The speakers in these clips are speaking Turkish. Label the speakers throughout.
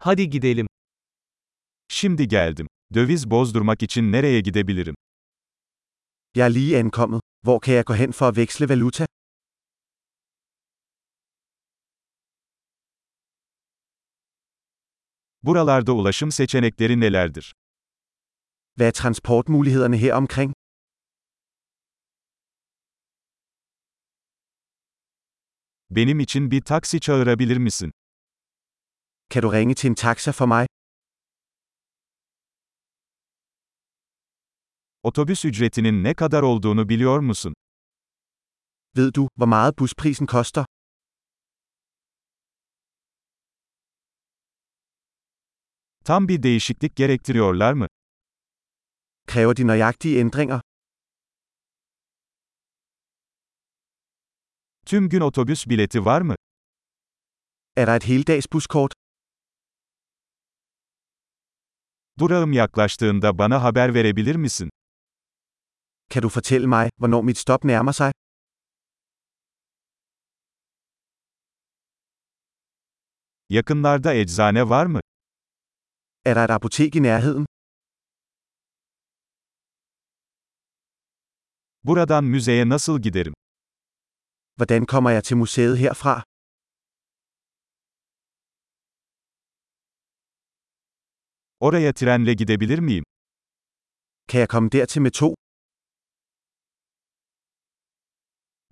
Speaker 1: Hadi gidelim.
Speaker 2: Şimdi geldim. Döviz bozdurmak için nereye gidebilirim?
Speaker 3: Jeg er lige ankommet. Hvor kan jeg gå hen for at veksle valuta?
Speaker 2: Buralarda ulaşım seçenekleri nelerdir?
Speaker 3: Hvad er transportmulighederne her omkring?
Speaker 2: Benim için bir taksi çağırabilir misin?
Speaker 3: Kan du ringe til en taxa for mig?
Speaker 2: Otobüs ücretinin ne kadar olduğunu biliyor musun?
Speaker 3: Ved du, hvor meget busprisen koster?
Speaker 2: Tam bir değişiklik gerektiriyorlar mı?
Speaker 3: Kræver de nøjagtige ændringer?
Speaker 2: Tüm gün otobüs bileti var mı?
Speaker 3: Er der et heldagsbuskort?
Speaker 2: Durağım yaklaştığında bana haber verebilir misin?
Speaker 3: Kan du fortælle mig, hvornår mit stop nærmer sig?
Speaker 2: Yakınlarda eczane var mı?
Speaker 3: Er der et apotek i nærheden?
Speaker 2: Buradan müzeye nasıl giderim?
Speaker 3: Hvordan kommer jeg til museet herfra?
Speaker 2: Oraya trenle gidebilir miyim?
Speaker 3: Kan jeg komme dertil med to?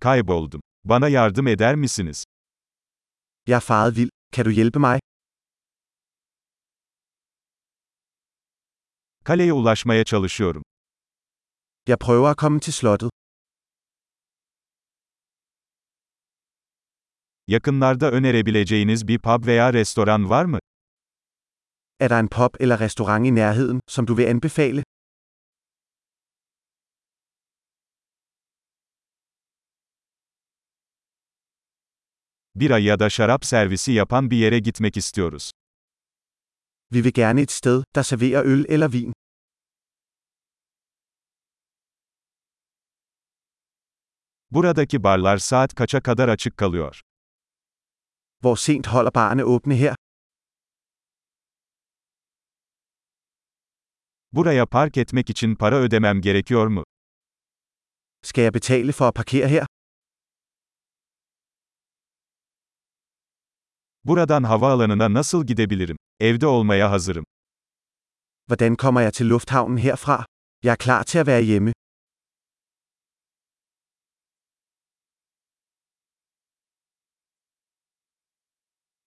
Speaker 2: Kayboldum. Bana yardım eder misiniz?
Speaker 3: Jeg er faret vild. Kan du hjælpe mig?
Speaker 2: Kaleye ulaşmaya çalışıyorum.
Speaker 3: Jeg prøver at komme til slottet.
Speaker 2: Yakınlarda önerebileceğiniz bir pub veya restoran var mı?
Speaker 3: Er der en pub eller restaurant i nærheden, som du vil anbefale?
Speaker 2: Bira ya da şarap servisi yapan bir yere gitmek istiyoruz.
Speaker 3: Vi vil gerne et sted, der serverer øl eller vin.
Speaker 2: Buradaki barlar saat kaça kadar açık kalıyor?
Speaker 3: Hvor sent holder barne åbne her?
Speaker 2: Buraya park etmek için para ödemem gerekiyor mu?
Speaker 3: Skal jeg betale for at parkere her?
Speaker 2: Buradan havaalanına nasıl gidebilirim? Evde olmaya hazırım.
Speaker 3: Hvordan kommer jeg til lufthavnen herfra? Jeg er klar til at være hjemme.